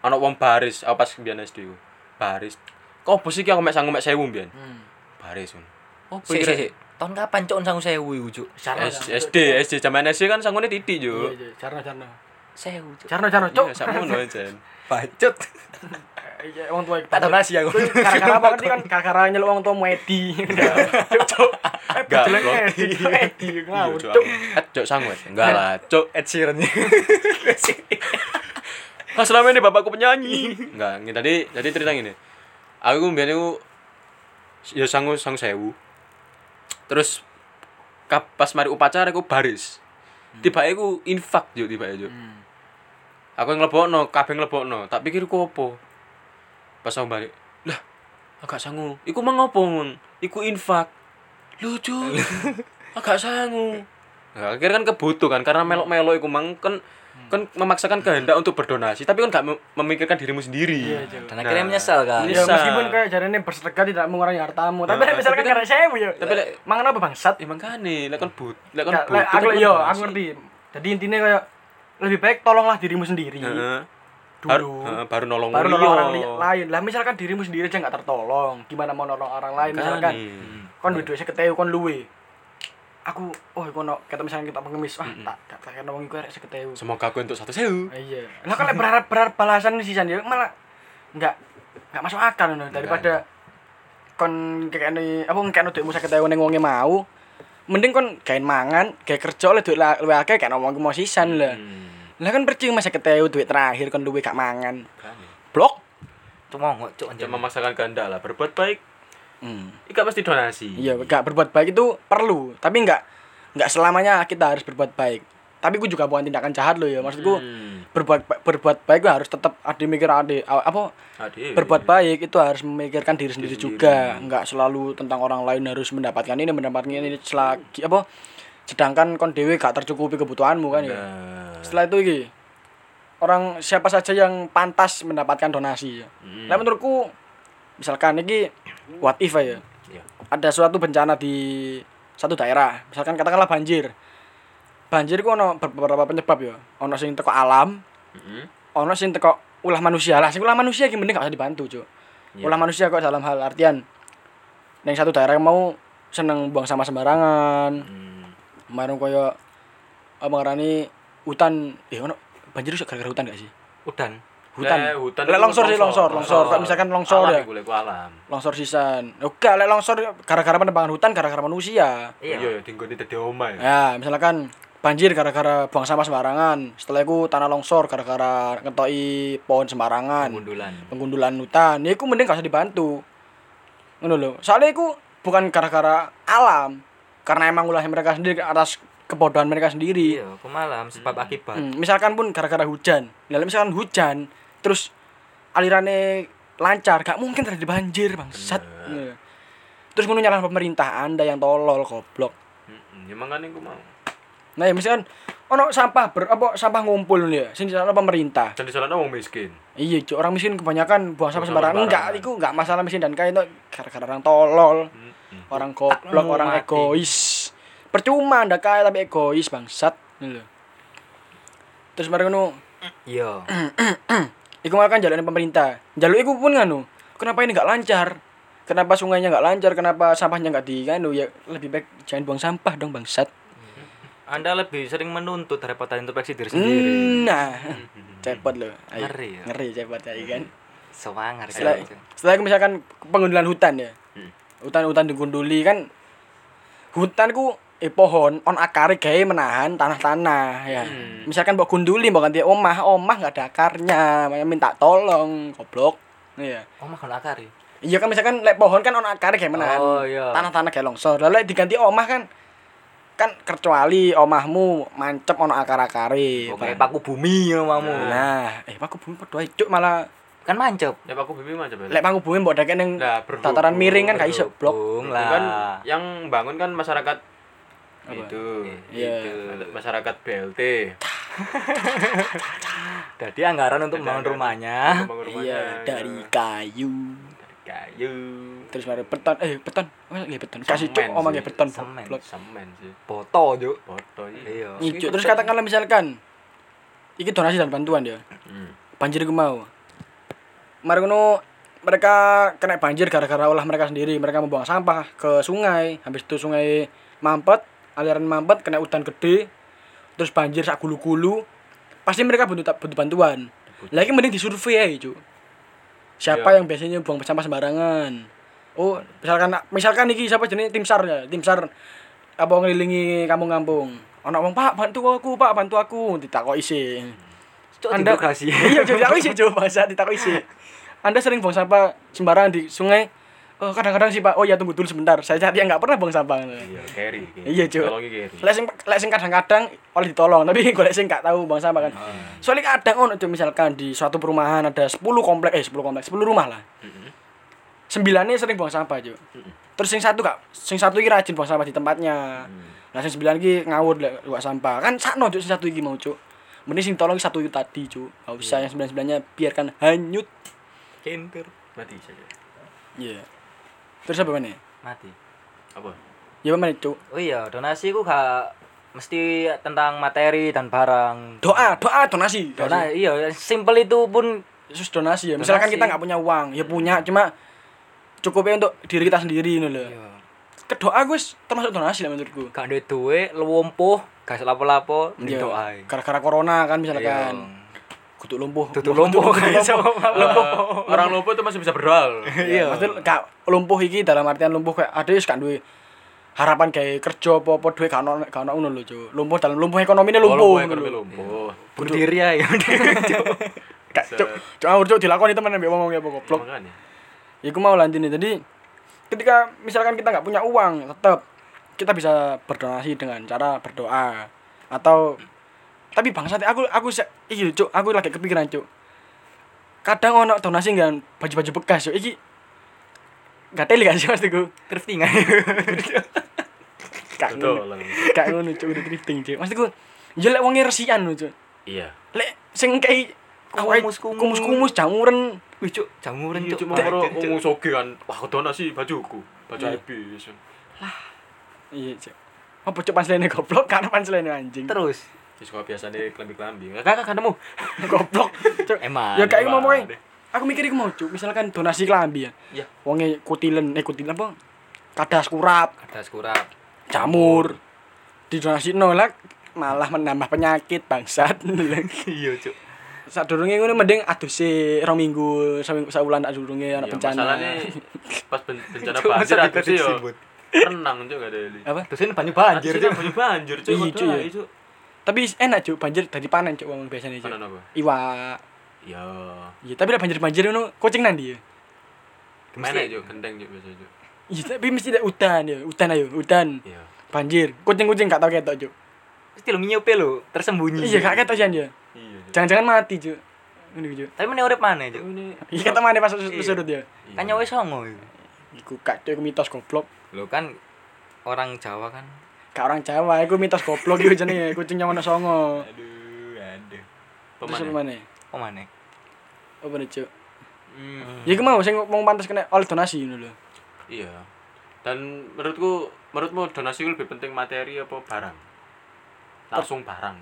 D: Ana wong baris, aku pas biyen SD ku. Baris. Kok bos iki aku mek sangu mek 1000 biyen.
C: Hmm.
D: Baris. ngono.
A: oh sik sik sik tahun kapan cok sangu sewu iku cok
C: Sarno
D: S- SD, SD zaman SD kan sangune titik jo.
C: Iya, Jarno Jarno
A: sewu cok
C: Jarno Jarno cok
D: Iya, sakmono jen.
A: bacut
C: Iya, wong tua
A: tak donasi aku
C: gara-gara apa ngerti kan gara-gara nyeluk wong tua Medi cuk eh
D: Enggak,
C: bejelek
D: Bro.
C: Medi Medi
D: Iya,
C: ngawur
D: Cuk,
C: cuk
D: aku- Eh, Cuk sangu. eh. Enggak lah, Cuk.
A: Ed Sheeran
D: Nah, selama ini bapakku penyanyi. Enggak, ini tadi tadi cerita gini. Aku biasanya aku ya sangu sangu sewu. Terus kap- pas mari upacara aku baris. Tiba aku infak yo tiba yo. Aku nglebokno, kabeh nglebokno. Tak pikir ku opo. Pas aku balik, lah agak sangu. Iku mang opo ngono? Iku infak. Lucu. agak sangu. Nah, akhirnya kan kebutuh kan karena melok-melok iku mang kan kan memaksakan kehendak untuk berdonasi tapi kan gak mem- memikirkan dirimu sendiri.
A: dan akhirnya menyesal kan
C: ya
D: Bisa.
C: meskipun kayak jarane bersedekah tidak mengurangi hartamu tapi
D: Nah,
C: misalkan
D: tapi kan-
C: karena sewu ya
D: tapi lek-
C: mangan apa bangsat
D: Ya Eh, makane, lek kon but, lek kon
C: Nggak,
D: butuh.
C: lek aku
D: kan
C: yo
D: donasi.
C: aku ngerti jadi intinya kayak lebih baik tolonglah dirimu sendiri
D: Heeh.
C: dulu
D: Baru, heeh, baru nolong
C: baru
D: wong
C: nolong
D: liya.
C: orang li- lain lah misalkan dirimu sendiri aja nggak tertolong gimana mau nolong orang lain
D: Makane.
C: misalkan
D: Hmm.
C: kon duwe duit 50 kon luwe aku oh kono kata misalkan kita pengemis ah tak tak tak kena wong iku arek 50
D: Semoga aku untuk satu sewu.
C: Iya. Lah kalau berharap berharap balasan sih San, ya malah nggak nggak masuk akal no. daripada kon kekene apa ngekeno duitmu 50.000 ning wonge e mau mending kon gain mangan, gawe kerja oleh duit la- luwih akeh kan omong mau sisan lah.
D: Hmm.
C: Lah kan percuma 50.000 duit terakhir kon luwih gak mangan. Blok.
A: cuma nggak cok anjir
D: Jangan memaksakan kehendak lah, berbuat baik
C: Hmm.
D: Ika pasti donasi.
C: Iya, gak berbuat baik itu perlu, tapi nggak nggak selamanya kita harus berbuat baik. Tapi gue juga bukan tindakan jahat loh ya,
D: Hmm.
C: maksudku berbuat ba- berbuat baik gue harus tetap ada mikir ada apa
D: Adik.
C: berbuat baik itu harus memikirkan diri sendiri juga nggak selalu tentang orang lain harus mendapatkan ini mendapatkan ini selagi apa sedangkan kon dewe gak tercukupi kebutuhanmu kan ya setelah itu iki orang siapa saja yang pantas mendapatkan donasi ya nah menurutku misalkan iki what if ya
D: Iya.
C: ada suatu bencana di satu daerah misalkan katakanlah banjir banjir ku ono beberapa penyebab ya ono sing teko alam
D: Mm-mm.
C: ono sing teko ulah manusia lah sing ulah manusia iki mending gak usah dibantu cuk ulah manusia kok dalam hal artian yang satu daerah mau seneng buang sampah sembarangan
D: Mm.
C: kemarin koyo apa ngarani hutan eh ono banjir itu gara-gara hutan gak sih
A: udan
C: hutan
D: Eh, hutan
C: Lek
D: itu
C: longsor sih longsor longsor Kayak misalkan longsor
D: alam
C: ya
D: iku, lek iku alam.
C: longsor sisan oke lek longsor gara-gara penebangan hutan gara-gara manusia
D: Iya, ya dinggoni dadi omah. ya.
C: Ya, misalkan banjir gara-gara buang sampah sembarangan. Setelah itu tanah longsor gara-gara ngetoi pohon sembarangan.
A: mundulan
C: Penggundulan hutan. Ya, aku mending gak usah dibantu. Ngono lho. Soalnya aku bukan gara-gara alam. Karena emang ulahnya mereka sendiri atas kebodohan mereka sendiri.
A: iya aku malam sebab akibat
C: Hmm, misalkan pun gara-gara hujan. Lalu misalkan hujan, terus alirannya lancar, gak mungkin terjadi banjir, bangsat. Iya. terus ngono nyalahin pemerintah anda yang tolol goblok
D: Heeh, ya mangane ku mau.
C: nah ya misalkan ono sampah ber apa sampah ngumpul nih ya sing disalahno pemerintah
D: Dan disalahno wong miskin.
C: iya Cuk, orang miskin kebanyakan buang sampah
D: Buang sampah
C: sembarangan enggak
D: sembarangan.
C: itu enggak masalah miskin dan kaya itu gara-gara orang tolol
D: Heeh.
C: orang goblok
A: mau
C: orang
A: mati.
C: egois percuma anda kaya tapi egois bangsat Ini lho. terus mari ngono
A: Iya.
C: Iku malah kan jalannya pemerintah. Jalur iku pun nganu. Kenapa ini nggak lancar? Kenapa sungainya nggak lancar? Kenapa sampahnya nggak diganu? Ya lebih baik jangan buang sampah dong bangsat.
A: Anda lebih sering menuntut daripada introspeksi diri sendiri.
C: Hmm, Nah, cepet loh. Ayo.
A: Ngeri ya.
C: Ngeri cepet ya kan.
A: Semangat
C: Setelah,
A: kayak gitu.
C: setelah itu misalkan pengundulan hutan ya.
D: Hmm.
C: Hutan-hutan digunduli kan. Hutan ku eh pohon on akar e gawe menahan tanah-tanah ya.
D: Hmm.
C: Misalkan mbok gunduli mbok ganti omah, omah nggak ada akarnya, makanya minta tolong, goblok. Iya.
A: Oh, makan akar ya?
C: Iya kan misalkan lek pohon kan ono akar kayak menahan.
A: Oh, iya.
C: Tanah-tanah kayak longsor. Lah lek diganti omah kan kan kecuali omahmu mancep ono akar-akare.
A: Oke, paku bumi ya mamu.
C: Nah, eh paku bumi padha ae, cuk malah
A: Kan mancep.
D: Ya aku bibi mah coba.
C: lek paku bumi mbok dakek ning
D: Lah, berhubung-
C: tataran miring kan gak iso blok.
A: Bung
D: kan
A: lah.
D: yang bangun kan masyarakat itu.
C: Iya.
D: Masyarakat BLT.
A: Jadi anggaran untuk membangun rumahnya.
D: Bangun rumahnya.
C: Iya, dari kayu.
D: Dari kayu.
C: Terus mari beton, eh beton. Oh, nggih beton. Kasih cuk
D: Semen
C: omah
D: sih,
C: nggih beton
A: semen.
C: blok.
D: Semen sih.
A: Boto juk.
D: Foto
A: Iya.
D: iya.
C: Nih, Cuk, terus katakanlah misalkan iki donasi dan bantuan ya.
D: Hmm.
C: banjir ku mau mari ngono mereka kena banjir gara-gara olah mereka sendiri mereka membuang sampah ke sungai habis itu sungai mampet aliran mampet kena hutan gede terus banjir sak gulu-gulu pasti mereka butuh butuh bantuan lagi mending disurvei aja cu. siapa
D: Iya.
C: yang biasanya buang sampah sembarangan oh misalkan misalkan iki siapa jenis tim sar ya tim sar apa ngelilingi kampung-kampung ono wong pak bantu aku pak bantu aku ditakoki sih
A: Cuk
C: Anda-
A: tidak kasih.
C: iya coba aku isi coba bahasa ditakut isi anda sering buang sampah sembarangan di sungai oh kadang-kadang sih pak oh ya tunggu dulu sebentar saya cari yang nggak pernah buang sampah
D: Iya, Gary.
C: iya cuy
D: Tolongi Gary.
C: lek sing lek sing kadang-kadang oleh ditolong tapi golek sing nggak tahu buang sampah kan soalnya kadang ono tuh misalkan di suatu perumahan ada 10 komplek eh 10 komplek 10 rumah lah
D: Mm-mm.
C: sembilannya sering buang sampah cuy terus sing satu gak sing satu iki rajin buang sampah di tempatnya nah sing sembilan iki ngawur lek buang sampah kan sakno cuk sing satu iki mau cuk mending sing tolong sing satu iki tadi cuk gak usah yang sembilan sembilannya biarkan hanyut
A: Kintur.
D: Mati saja.
C: iya terus apa mana
A: Mati.
D: Apa?
C: ya apa mana cuk
A: Oh iya, donasi ku gak mesti tentang materi dan barang.
C: doa doa donasi
A: Dona, iya, simple itu pun
C: Terus donasi ya misalkan
A: Donasi.
C: kita nggak punya uang ya punya cuma cukupnya untuk diri kita sendiri ini
A: Iya.
C: loh ke doa guys termasuk donasi lah menurutku
A: gak duwe duwe, lumpuh, gak lapo-lapo, mending
C: Iya,
A: doa. ae.
C: gara-gara corona kan misalkan
A: Iya.
C: kutu lumpuh
A: Tutup lumpuh guys.
C: Oh.
A: Eh,
D: Orang lumpuh itu masih bisa berdoa. loh.
C: iya maksudnya gak lumpuh iki dalam artian lumpuh kayak ada wis kan duwe harapan kayak kerja apa apa duit gak ono gak ono ngono lho Cuk. lumpuh dalam lumpuh ekonomi ini
D: Oh,
C: lumpuh gitu. Iya.
D: lumpuh,
C: ngono
D: ekonomi
C: lho.
D: lumpuh.
A: Berdiri ae.
C: Gak, Cuk. Cuk, ngawur, Cuk, dilakoni temen mbek ngomong ya apa goblok
D: Iya, Makanya.
C: iku mau lanjutnya jadi ketika misalkan kita nggak punya uang tetap kita bisa berdonasi dengan cara berdoa atau tapi bangsat aku aku se- iki cuk aku lagi kepikiran cuk kadang ono donasi nggak baju-baju bekas cuk iki gak teli gak sih mas tuh
A: Thrifting ae.
C: gak
D: Betul.
C: ngono gak ngono cuk udah drifting cuk mas tuh ya lek wongi resian lho cuk
D: Iya.
C: lek sing kayak
A: Kumus-kumus.
C: kumus jamuran
A: Wih, cuk, jamuran
D: Iya
A: cuk.
D: cuma
A: Cuk.
D: karo wong soge kan. Wah, aku donasi bajuku. Baju habis.
C: iya cuk apa cuk panselene goblok karena panselene anjing
A: Terus
D: Wis kok biasane klambi-klambi. Kakak kakak nemu.
C: goblok Cuk.
A: Emang,
C: kan? ya kayak mau
D: emang.
C: pokoknya aku mikir iku mau cuk misalkan donasi kelambi ya
D: Iya.
C: wonge kutilen eh kutilen apa kadas kurap
A: ada kurap.
C: jamur didonasi nolak malah menambah penyakit bangsat
A: Iya, cuk.
C: saat durungnya ngono mending aduh sih rong minggu seminggu saulan tak durungnya anak
D: Iya,
C: bencana
D: Masalahnya pas ben- bencana
A: Cuk,
D: banjir
A: masa
D: aku sih yo.
A: dikasih
D: Renang juga ada Eli.
C: apa
A: Terus ini banyu banjir
D: Anjir,
A: cuk.
D: banjir banjir cuy.
C: Iya, Iya. cuy,
D: padahal
C: ya.
D: itu.
C: tapi enak cuk banjir dari panen cuk wong biasanya cuk
D: Panen apa?
C: iwak
D: Ya.
C: iya tapi lah banjir banjir ngono kucing nanti ya
D: Mana juga gendeng juga biasa juga.
C: iya tapi mesti ada hutan ya hutan ayo hutan
D: Iya.
C: banjir kucing kucing gak tau ketok cuk
A: Mesti lu nyiupe lu, tersembunyi.
C: iya gak ketok sih dia
D: Iya. Cuk.
C: Jangan-jangan mati, Cuk. Ini, Cuk.
A: Tapi meneh urip maneh cuk.
D: Ini
C: Iya, kita mana pas
A: Iya.
C: surut ya.
A: Kan nyawa songo. iku.
C: Iku kacau iku mitos goblok.
A: Lo kan orang Jawa kan.
C: Gak orang Jawa, iku mitos goblok iku jenenge kucing nyawono songo.
B: Aduh, aduh.
C: Terus
D: Pemane?
C: apa maneh?
A: Oh mana?
C: Apa nih, Cuk?
D: Hmm,
C: Ya iku mau sing mau pantas kena oleh donasi ngono lho.
D: iya. Dan menurutku menurutmu donasi itu lebih penting materi apa barang? Langsung barang.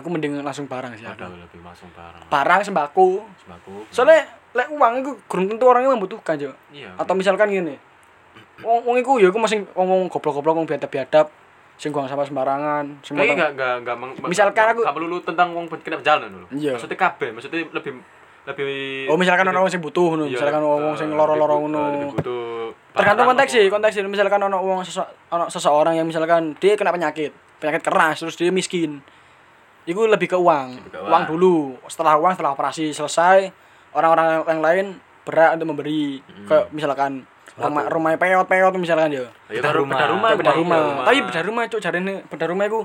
C: Aku mending langsung barang sih
D: Ada
C: aku.
D: lebih langsung barang.
C: Barang sembako.
D: Sembako.
C: Soalnya lek uang iku gurung tentu orangnya membutuhkan, Cuk.
D: iya.
C: Atau misalkan gini. Wong wong iku ya iku masing wong wong goblok-goblok wong biadab-biadap sing buang sampah sembarangan, sing
D: Kayaknya
C: motong-
D: nggak nggak nggak meng-
C: Misalkan
D: nggak-
C: aku-
D: nggak melulu tentang wong kena jalan dulu.
C: Iya.
D: Maksudnya kabeh, maksudnya lebih lebih
C: Oh misalkan orang orang sing butuh ngono,
D: Iya,
C: misalkan
D: lebih-
C: orang orang sing
D: eh,
C: loro-loro
D: lebih-
C: ngono.
D: eh, lebih butuh
C: Tergantung
D: barang
C: konteks sih,
D: apa.
C: konteks sih. Misalkan ono wong sese- ono seseorang yang misalkan dia kena penyakit, penyakit keras terus dia miskin. Itu lebih ke uang.
D: Lebih ke
C: uang.
D: uang.
C: dulu. Setelah uang, setelah operasi selesai, orang-orang yang lain berat untuk memberi. Kayak misalkan rumah rumah peot-peot misalkan ya.
D: Ayo
A: Bedah
D: Iya, baru
A: rumah.
D: bedah rumah,
A: Tapi
C: Bedah
D: bedah
C: rumah. Tapi bedah rumah cuk jarene bedah rumah iku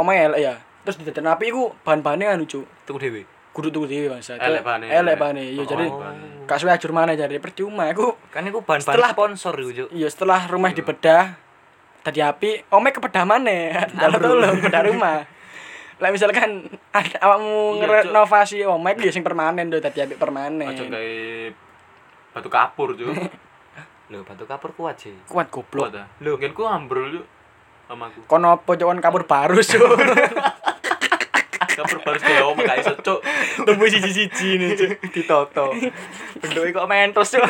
C: omae elek ya. Terus didadekno api iku bahan-bahannya anu cuk.
A: Tuku dewi.
C: Kudu tuku dhewe bangsa.
D: Elek bahane.
C: Elek bahane. Iya
D: Oh.
C: jadi gak suwe ajur mana jadi percuma iku
A: Kan itu bahan bahan
C: Setelah-
A: sponsor itu.
C: Iya setelah rumah dibedah tadi api omek ke bedah mana kalau tuh lo bedah rumah lah misalkan ada awakmu
D: Iya, Cuk.
C: ngerenovasi omek ya sing permanen do tadi api permanen
D: Aja kayak batu kapur tuh.
A: Lo batu kapur kuat sih.
C: kuat goblok
D: Blok. Lho, ngenku ambrol yuk sama aku.
C: kono apa Cuk? Kon kabur baru cuk
D: Iya, Kapur baru kayak omong gak iso cuk.
C: tembus siji-siji nih cuk
A: Ditoto. Bentuknya kok mentos tuh.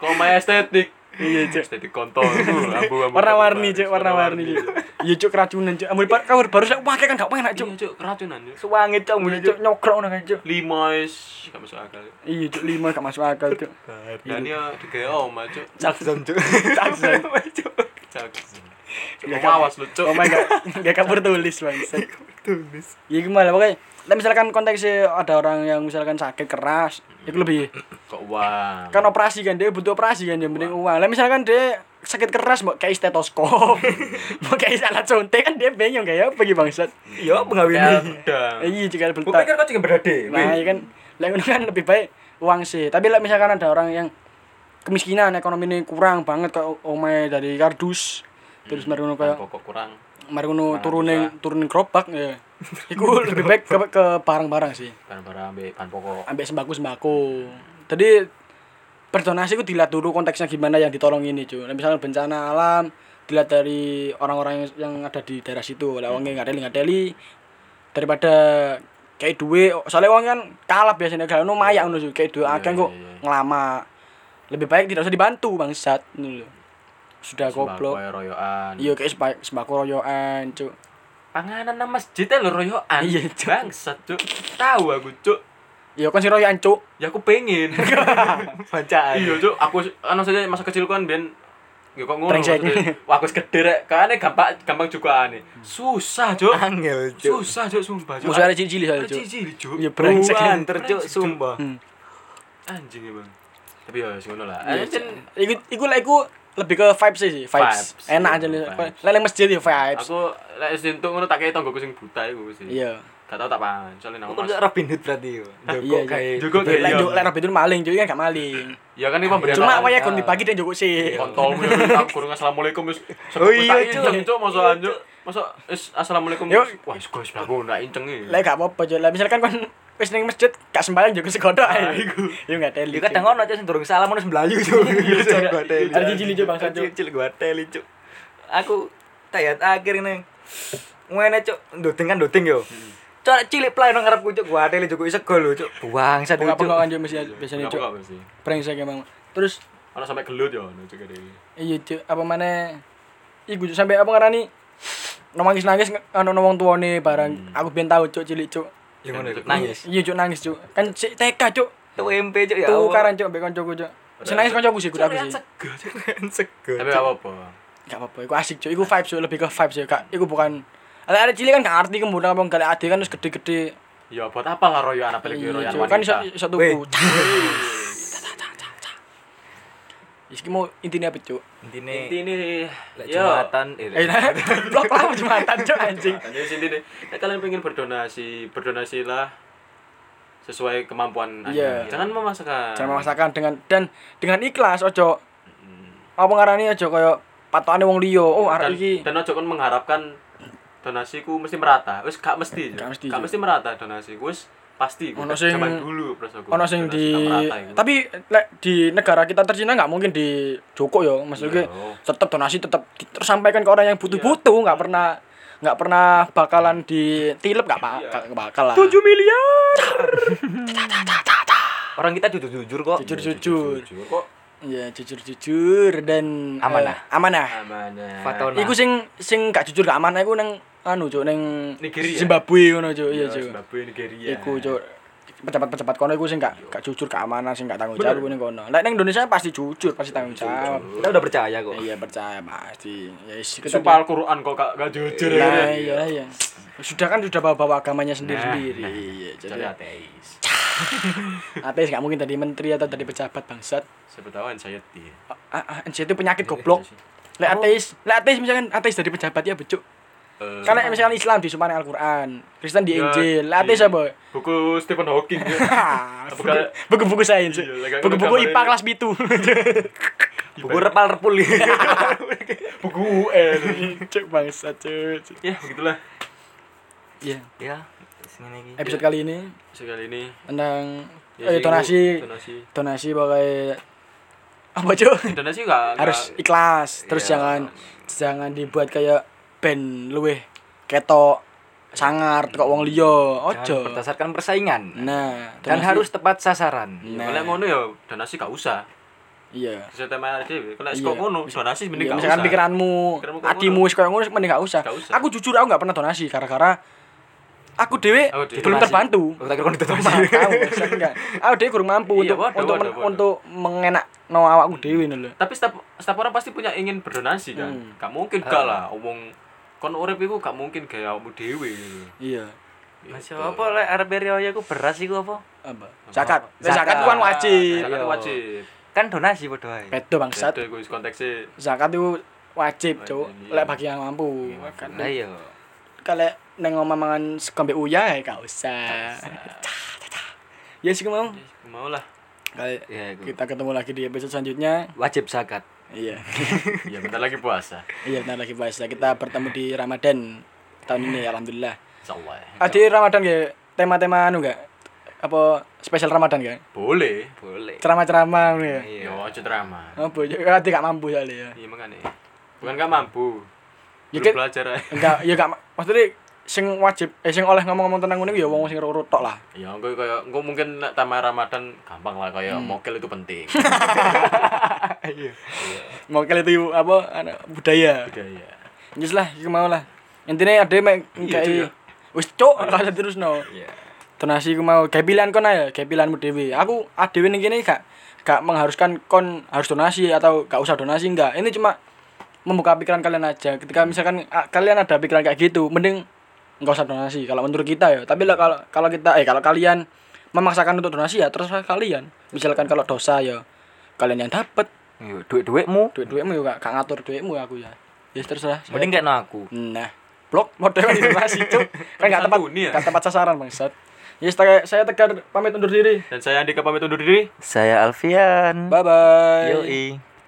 D: Kok main estetik.
C: iya cuk
D: Estetik kontol. Abu-abu.
C: warna-warni cuk warna-warni cuk iya cuk keracunan cuk ambil ba- kabur baru cuk pakai kan gak enak cuk
D: Iya, Cuk, cuk keracunan cuk.
A: Suangit cong
C: iya cuk nyokrok ngono kan cuk
D: Lima is gak masuk akal. Cuk.
C: iya cuk lima gak masuk akal cuk
D: Dan dia digaya oma cuk.
A: Jackson cuk.
C: Jackson.
D: Cak.
C: Ya,
D: Oma awas lu cuk.
C: Oh my god, gak kabur tulis bang. tulis. Ya gimana pokoknya. Nah, misalkan konteksnya ada orang yang misalkan sakit keras, itu lebih
D: Kok uang.
C: kan operasi kan dia butuh operasi kan dia mending uang. Lah misalkan dia sakit keras mau kayak stetoskop, mau kayak alat suntik kan dia bingung kayak apa gitu bangsat.
A: Iya pengawin
D: Kayak udang.
C: Iya jika
A: Gue
C: belta.
A: pikir kau kan juga berdade.
C: Nah iya kan, lah ngono kan lebih baik uang sih. Tapi lah misalkan ada orang yang kemiskinan ekonomi ini kurang banget kayak omai dari kardus terus mari ngono kayak
D: Pokok kurang.
C: mari ngono
D: Barang
C: turunin turunin gerobak ya iku lebih baik ke, ke barang-barang sih
D: Barang-barang ambil bahan pokok.
C: ambek sembako sembako jadi berdonasi itu dilihat dulu konteksnya gimana yang ditolong ini cuy nah, misalnya bencana alam dilihat dari orang-orang yang, yang ada di daerah situ lah wongnya nggak teli nggak teli daripada kayak duit soalnya wong kan kalap biasanya kalau nu mayak nu kayak duit
D: Iya,
C: akeh
D: iya,
C: kok
D: iya.
C: ngelama lebih baik tidak usah dibantu bangsat ngono lho. sudah
D: Sembako
C: goblok
D: royoan.
C: iya kayak sembako, sembako royoan cuy
D: Panganan nang masjid e lho royoan.
C: Iya, Cuk.
D: Bangsat cuk. Tahu aku cuk.
C: iya kan si royoan cuy
D: Ya aku pengen.
A: Bacaan.
D: Iya, Cuk. Aku anu saja masa kecil kan ben Ya kok ngono
C: Brengsek.
D: maksudnya. Wah, aku wis gede rek. Kayane gampang gampang juga aneh. Susah, Ah, Cuk.
A: Angel cuk.
D: Susah, Cuk, sumpah, Cuk.
C: Musuh ada cili-cili
D: Ada
C: soalnya cuy
D: cili, Cuk.
C: Iya, brengsek. Hmm.
A: Buan tercuk
D: Brengsek, Cuk.
A: sumpah.
D: Anjing emang. Tapi ya wis ngono lah.
C: Iya,
D: Eh,
C: Cuk.
D: Cen,
C: Iku iku lah iku lebih ke vibes sih sih, vibes.
D: Vibes.
C: Enak aja
D: Iya,
C: lho.
D: vibes.
C: Lah nang masjid ya vibes.
D: aku lek wis entuk ngono tak kei tanggoku sing buta iku sih.
C: Iya.
D: Gak tau tak paham. Soalnya nang
A: Aku
D: Nah, mas.
A: tuh Robin Hood berarti.
C: Iya,
A: Joko Oh,
C: iya.
A: kayak.
D: Joko
C: Lek
D: kayak.
C: lek
D: iya.
C: Jok- lek Robin Hood maling juga kan gak maling.
D: Ya kan ini pemberian.
C: Cuma
D: apaan?
C: wayahe kon dibagi dan juga sih.
D: kontolmu ya tak kurung assalamualaikum wis
A: Oh iya, Cuk.
D: cuk cuk masa anjuk masa is assalamualaikum
C: Yo.
D: wah wis guys aku ndak inceng iki
C: Lek gak apa-apa Cuk. Lah misalkan kon wis ning masjid gak sembahyang juga segodok
D: Ah,
C: ae. Yo gak
A: Lu
C: teli. Cuk.
A: Iya, kadang ngono cuk sing durung salam terus mlayu cuk. Gua teli.
C: Ada cili-cili, Cuk, bangsa, Cuk.
A: Cil gua teli cuk. Aku tayat akhir ini. Ngene cuk, nduting kan nduting yo. Cuk ada cilik play nang ngarepku cuk, gua teli juga isego lho cuk. Buang satu
C: Buka
A: cuk.
C: pengokan juga
D: Iya,
C: mesti biasanya
D: Kenapa
C: kan, cuk.
D: gak mesti?
C: Brengsek emang. Terus
D: Ono sampe gelut ya ono cuk iki.
C: iya cuk apa mana iku Cuk, sampai apa ngarani nangis nangis anu wong tuane
A: Hmm.
C: barang aku ben tau cuk cilik cuk.
A: Ya ngono Cuk, nangis.
C: Iya cuk nangis cuk. Kan sik TK cuk.
A: Tuh MP cuk ya. Allah.
C: Tuh karan cuk mbek kancaku cuk. Senangis kancaku sih kudu aku
A: Cuk,
C: sih.
A: sego, Cuk. Sego,
D: Tapi
A: Cuk.
D: gak apa-apa.
C: Gak apa-apa, iku asik cuk. Iku vibes cuk, lebih ke vibes ya, Kak. Iku bukan ada ada cilik kan gak ngerti kemudian ngomong gak ade kan terus gede-gede.
D: Ya buat apa lah royo anak pilih
C: Iya,
D: royo
C: Cuk. Kan iso
D: wanita.
C: iso
A: Weh.
C: tuku. Iki mau intinya apa cuk?
A: Intine
D: Intine
A: lek
D: yo.
A: jumatan
C: Eh,
A: eh.
C: nah, blok lah jumatan cuk anjing.
D: Jadi sini nih, kalian pengen berdonasi, berdonasilah sesuai kemampuan
C: Iya.
D: Anda. Jangan memaksakan.
C: Jangan memaksakan dengan dan dengan ikhlas ojo apa ngarani ojo koyo patokane wong liya. Oh
D: dan,
C: arek iki.
D: dan ojo kon mengharapkan donasiku mesti merata. Wis gak mesti.
C: Gak mesti, Cuk.
D: merata donasiku wis pasti
C: Ono
D: Udah
C: sing-
D: zaman dulu perasaanku.
C: Ono sing
D: Donasi
C: di
D: gak merata iku.
C: tapi lek di negara kita tercinta nggak mungkin di Joko ya maksudnya
D: Iya. oh.
C: tetap donasi tetap di- tersampaikan ke orang yang butuh-butuh nggak pernah nggak pernah bakalan ditilep nggak pak bakal lah
D: Tujuh miliar.
A: Orang kita jujur-jujur kok.
C: jujur jujur
D: Jujur kok
C: ya jujur jujur dan eh,
E: Amanah.
C: amanah
D: amanah.
B: Nah,
A: Fatona.
C: Iku sing sing gak jujur gak amanah iku nang anu cuk ning
D: Nigeria.
C: Zimbabwe ngono cuk. Iya cuk.
D: Zimbabwe Nigeria.
B: ya.
C: Iku cuk pejabat-pejabat kono iku sing gak gak jujur gak amanah sing gak tanggung
D: Bener.
C: jawab iku ning kono. Lek ning Indonesia pasti jujur, pasti tanggung jawab.
A: Kita udah percaya kok.
C: Iya percaya pasti. Ya wis kita-
D: Sumpah Al-Qur'an kok gak, gak jujur. ya.
C: Nah, iya iya. Sudah kan sudah bawa-bawa agamanya sendiri-sendiri.
D: Nah,
C: Iya,
D: Jadi
C: jadi
D: ateis.
C: ateis gak mungkin dari menteri atau dari pejabat bangsat.
D: Siapa tahu kan anxiety.
C: Ah, ah, itu penyakit goblok.
D: Oh.
C: Lek ateis, lek ateis misalkan ateis dari pejabat ya becuk.
D: Eh,
C: Karena misalkan Islam di Sumpah Al-Quran, Kristen di
D: Ya,
C: Injil,
D: di-
C: latih apa?
D: buku Stephen Hawking.
C: Hah,
D: Apa
C: buku-
D: kayak-
C: Buku-buku sains.
D: Iya, lah, kayak
C: Buku-buku
D: gambar
C: IPA
D: ini.
C: kelas pitu.
A: Buku repal-repul.
D: buku UN.
C: Cuk bangsa cuk.
D: ya, begitulah.
C: Iya.
A: ya, sini lagi.
C: Episode kali ini
D: Sekali ini
C: tentang
D: ya,
C: eh,
D: sih,
C: donasi
D: donasi.
C: donasi pakai apa cuk?
D: Donasi enggak
C: Harus ikhlas. Terus
D: Iya.
C: jangan jangan dibuat kayak band luweh ketok sangar kok wong liya.
A: Jangan
C: Ojo.
A: berdasarkan persaingan.
C: Nah,
A: dan
C: donasi- Nah,
A: harus tepat sasaran.
D: Ya, kalau ngono ya donasi gak usah.
C: iya.
D: Bisa tema dhewe. Kalau
C: Iya.
D: kok ngono donasi mending
C: Iya,
D: gak
C: misalkan
D: usah.
C: pikiranmu,
D: Pikiranmu kok
C: adimu sih ngono mending gak usah.
D: Gak usah.
C: Aku jujur aku gak pernah donasi gara-gara aku dewe
D: Aku dewe.
C: belum
D: Donasi.
C: terbantu.
A: Aku tak kira kon
C: Aku
A: ditonton.
C: enggak. Aku dewe kurang mampu
D: Iya,
C: untuk
D: waduh,
C: untuk men-
D: waduh, waduh.
C: untuk mengenak no awakku dewe ngono lho.
D: Tapi setiap setiap orang pasti punya ingin berdonasi kan.
C: Hmm.
D: Gak mungkin gak lah omong kon urip iku gak mungkin gaya awakmu dhewe. Gitu.
C: Iya.
A: Masih apa lek arep riyo aku beras iku apa?
C: Apa? Zakat.
A: Zakat.
C: Zakat, zakat itu kan wajib.
D: Zakat itu Nah, wajib.
A: Kan donasi padha ae.
C: Betul bangsat.
D: Itu iku wis konteksnya
C: Zakat itu wajib, Cuk.
D: Wajib, iya.
C: Lek bagi yang mampu. Kan
A: Lah iya.
C: kalau neng omah mangan sekombe uya ya gak usah. Ya sih mau.
D: mau lah.
C: Kalau
A: Ya iku.
C: kita ketemu lagi di episode selanjutnya.
A: Wajib zakat.
C: Iya.
D: Ya bentar lagi puasa.
C: Iya benar lagi puasa. Kita bertemu di Ramadan tahun ini alhamdulillah.
D: Insyaallah.
C: Ah di Ramadan ya tema-tema anu enggak? Apa spesial Ramadan enggak?
D: Boleh.
A: Boleh.
C: Ceramah-ceramah anu ya.
D: Ya
A: Iya.
D: ojo drama.
C: Apa ya ati gak mampu kali ya.
D: Iya makane. Bukan gak mampu.
C: Ya,
D: Belum
C: kan-
D: belajar aja.
C: Enggak, ya gak ma- maksudnya sing wajib eh sing oleh ngomong-ngomong tenang ngene ya wong sing rurut tok lah.
D: Ya, engko kayak engko mungkin nek tambah Ramadan gampang lah kayak mokel itu penting.
C: Mokel itu apa anak budaya.
D: Budaya.
C: Wis lah, iku mau lah. Intinya ada mek
D: Cuk, ya.
C: kayak wis cuk kalau terus no.
D: Iya.
C: Donasi iku mau kayak pilihan kon aja, kayak pilihanmu dhewe. Aku adewe ning kene gak gak mengharuskan kon harus donasi atau gak usah donasi enggak. Ini cuma membuka pikiran kalian aja. Ketika misalkan ah, kalian ada pikiran kayak gitu, mending nggak usah donasi kalau menurut kita ya. Tapi lah kalau kalau kita eh kalau kalian memaksakan untuk donasi ya terus kalian. Misalkan kalau dosa ya kalian yang dapat
A: Iya, duit-duitmu
C: duit-duitmu juga gak ngatur duitmu aku ya. Ya terserah. saya.
A: mending kayak aku.
C: Nah, blok model kan donasi cuk. Kan enggak tepat,
D: Santuni ya?
C: enggak tepat sasaran bangsat. Ya, saya- saya tegar pamit undur diri.
D: Dan saya Andika pamit undur diri.
E: Saya Alfian.
C: Bye bye.
E: Yoi.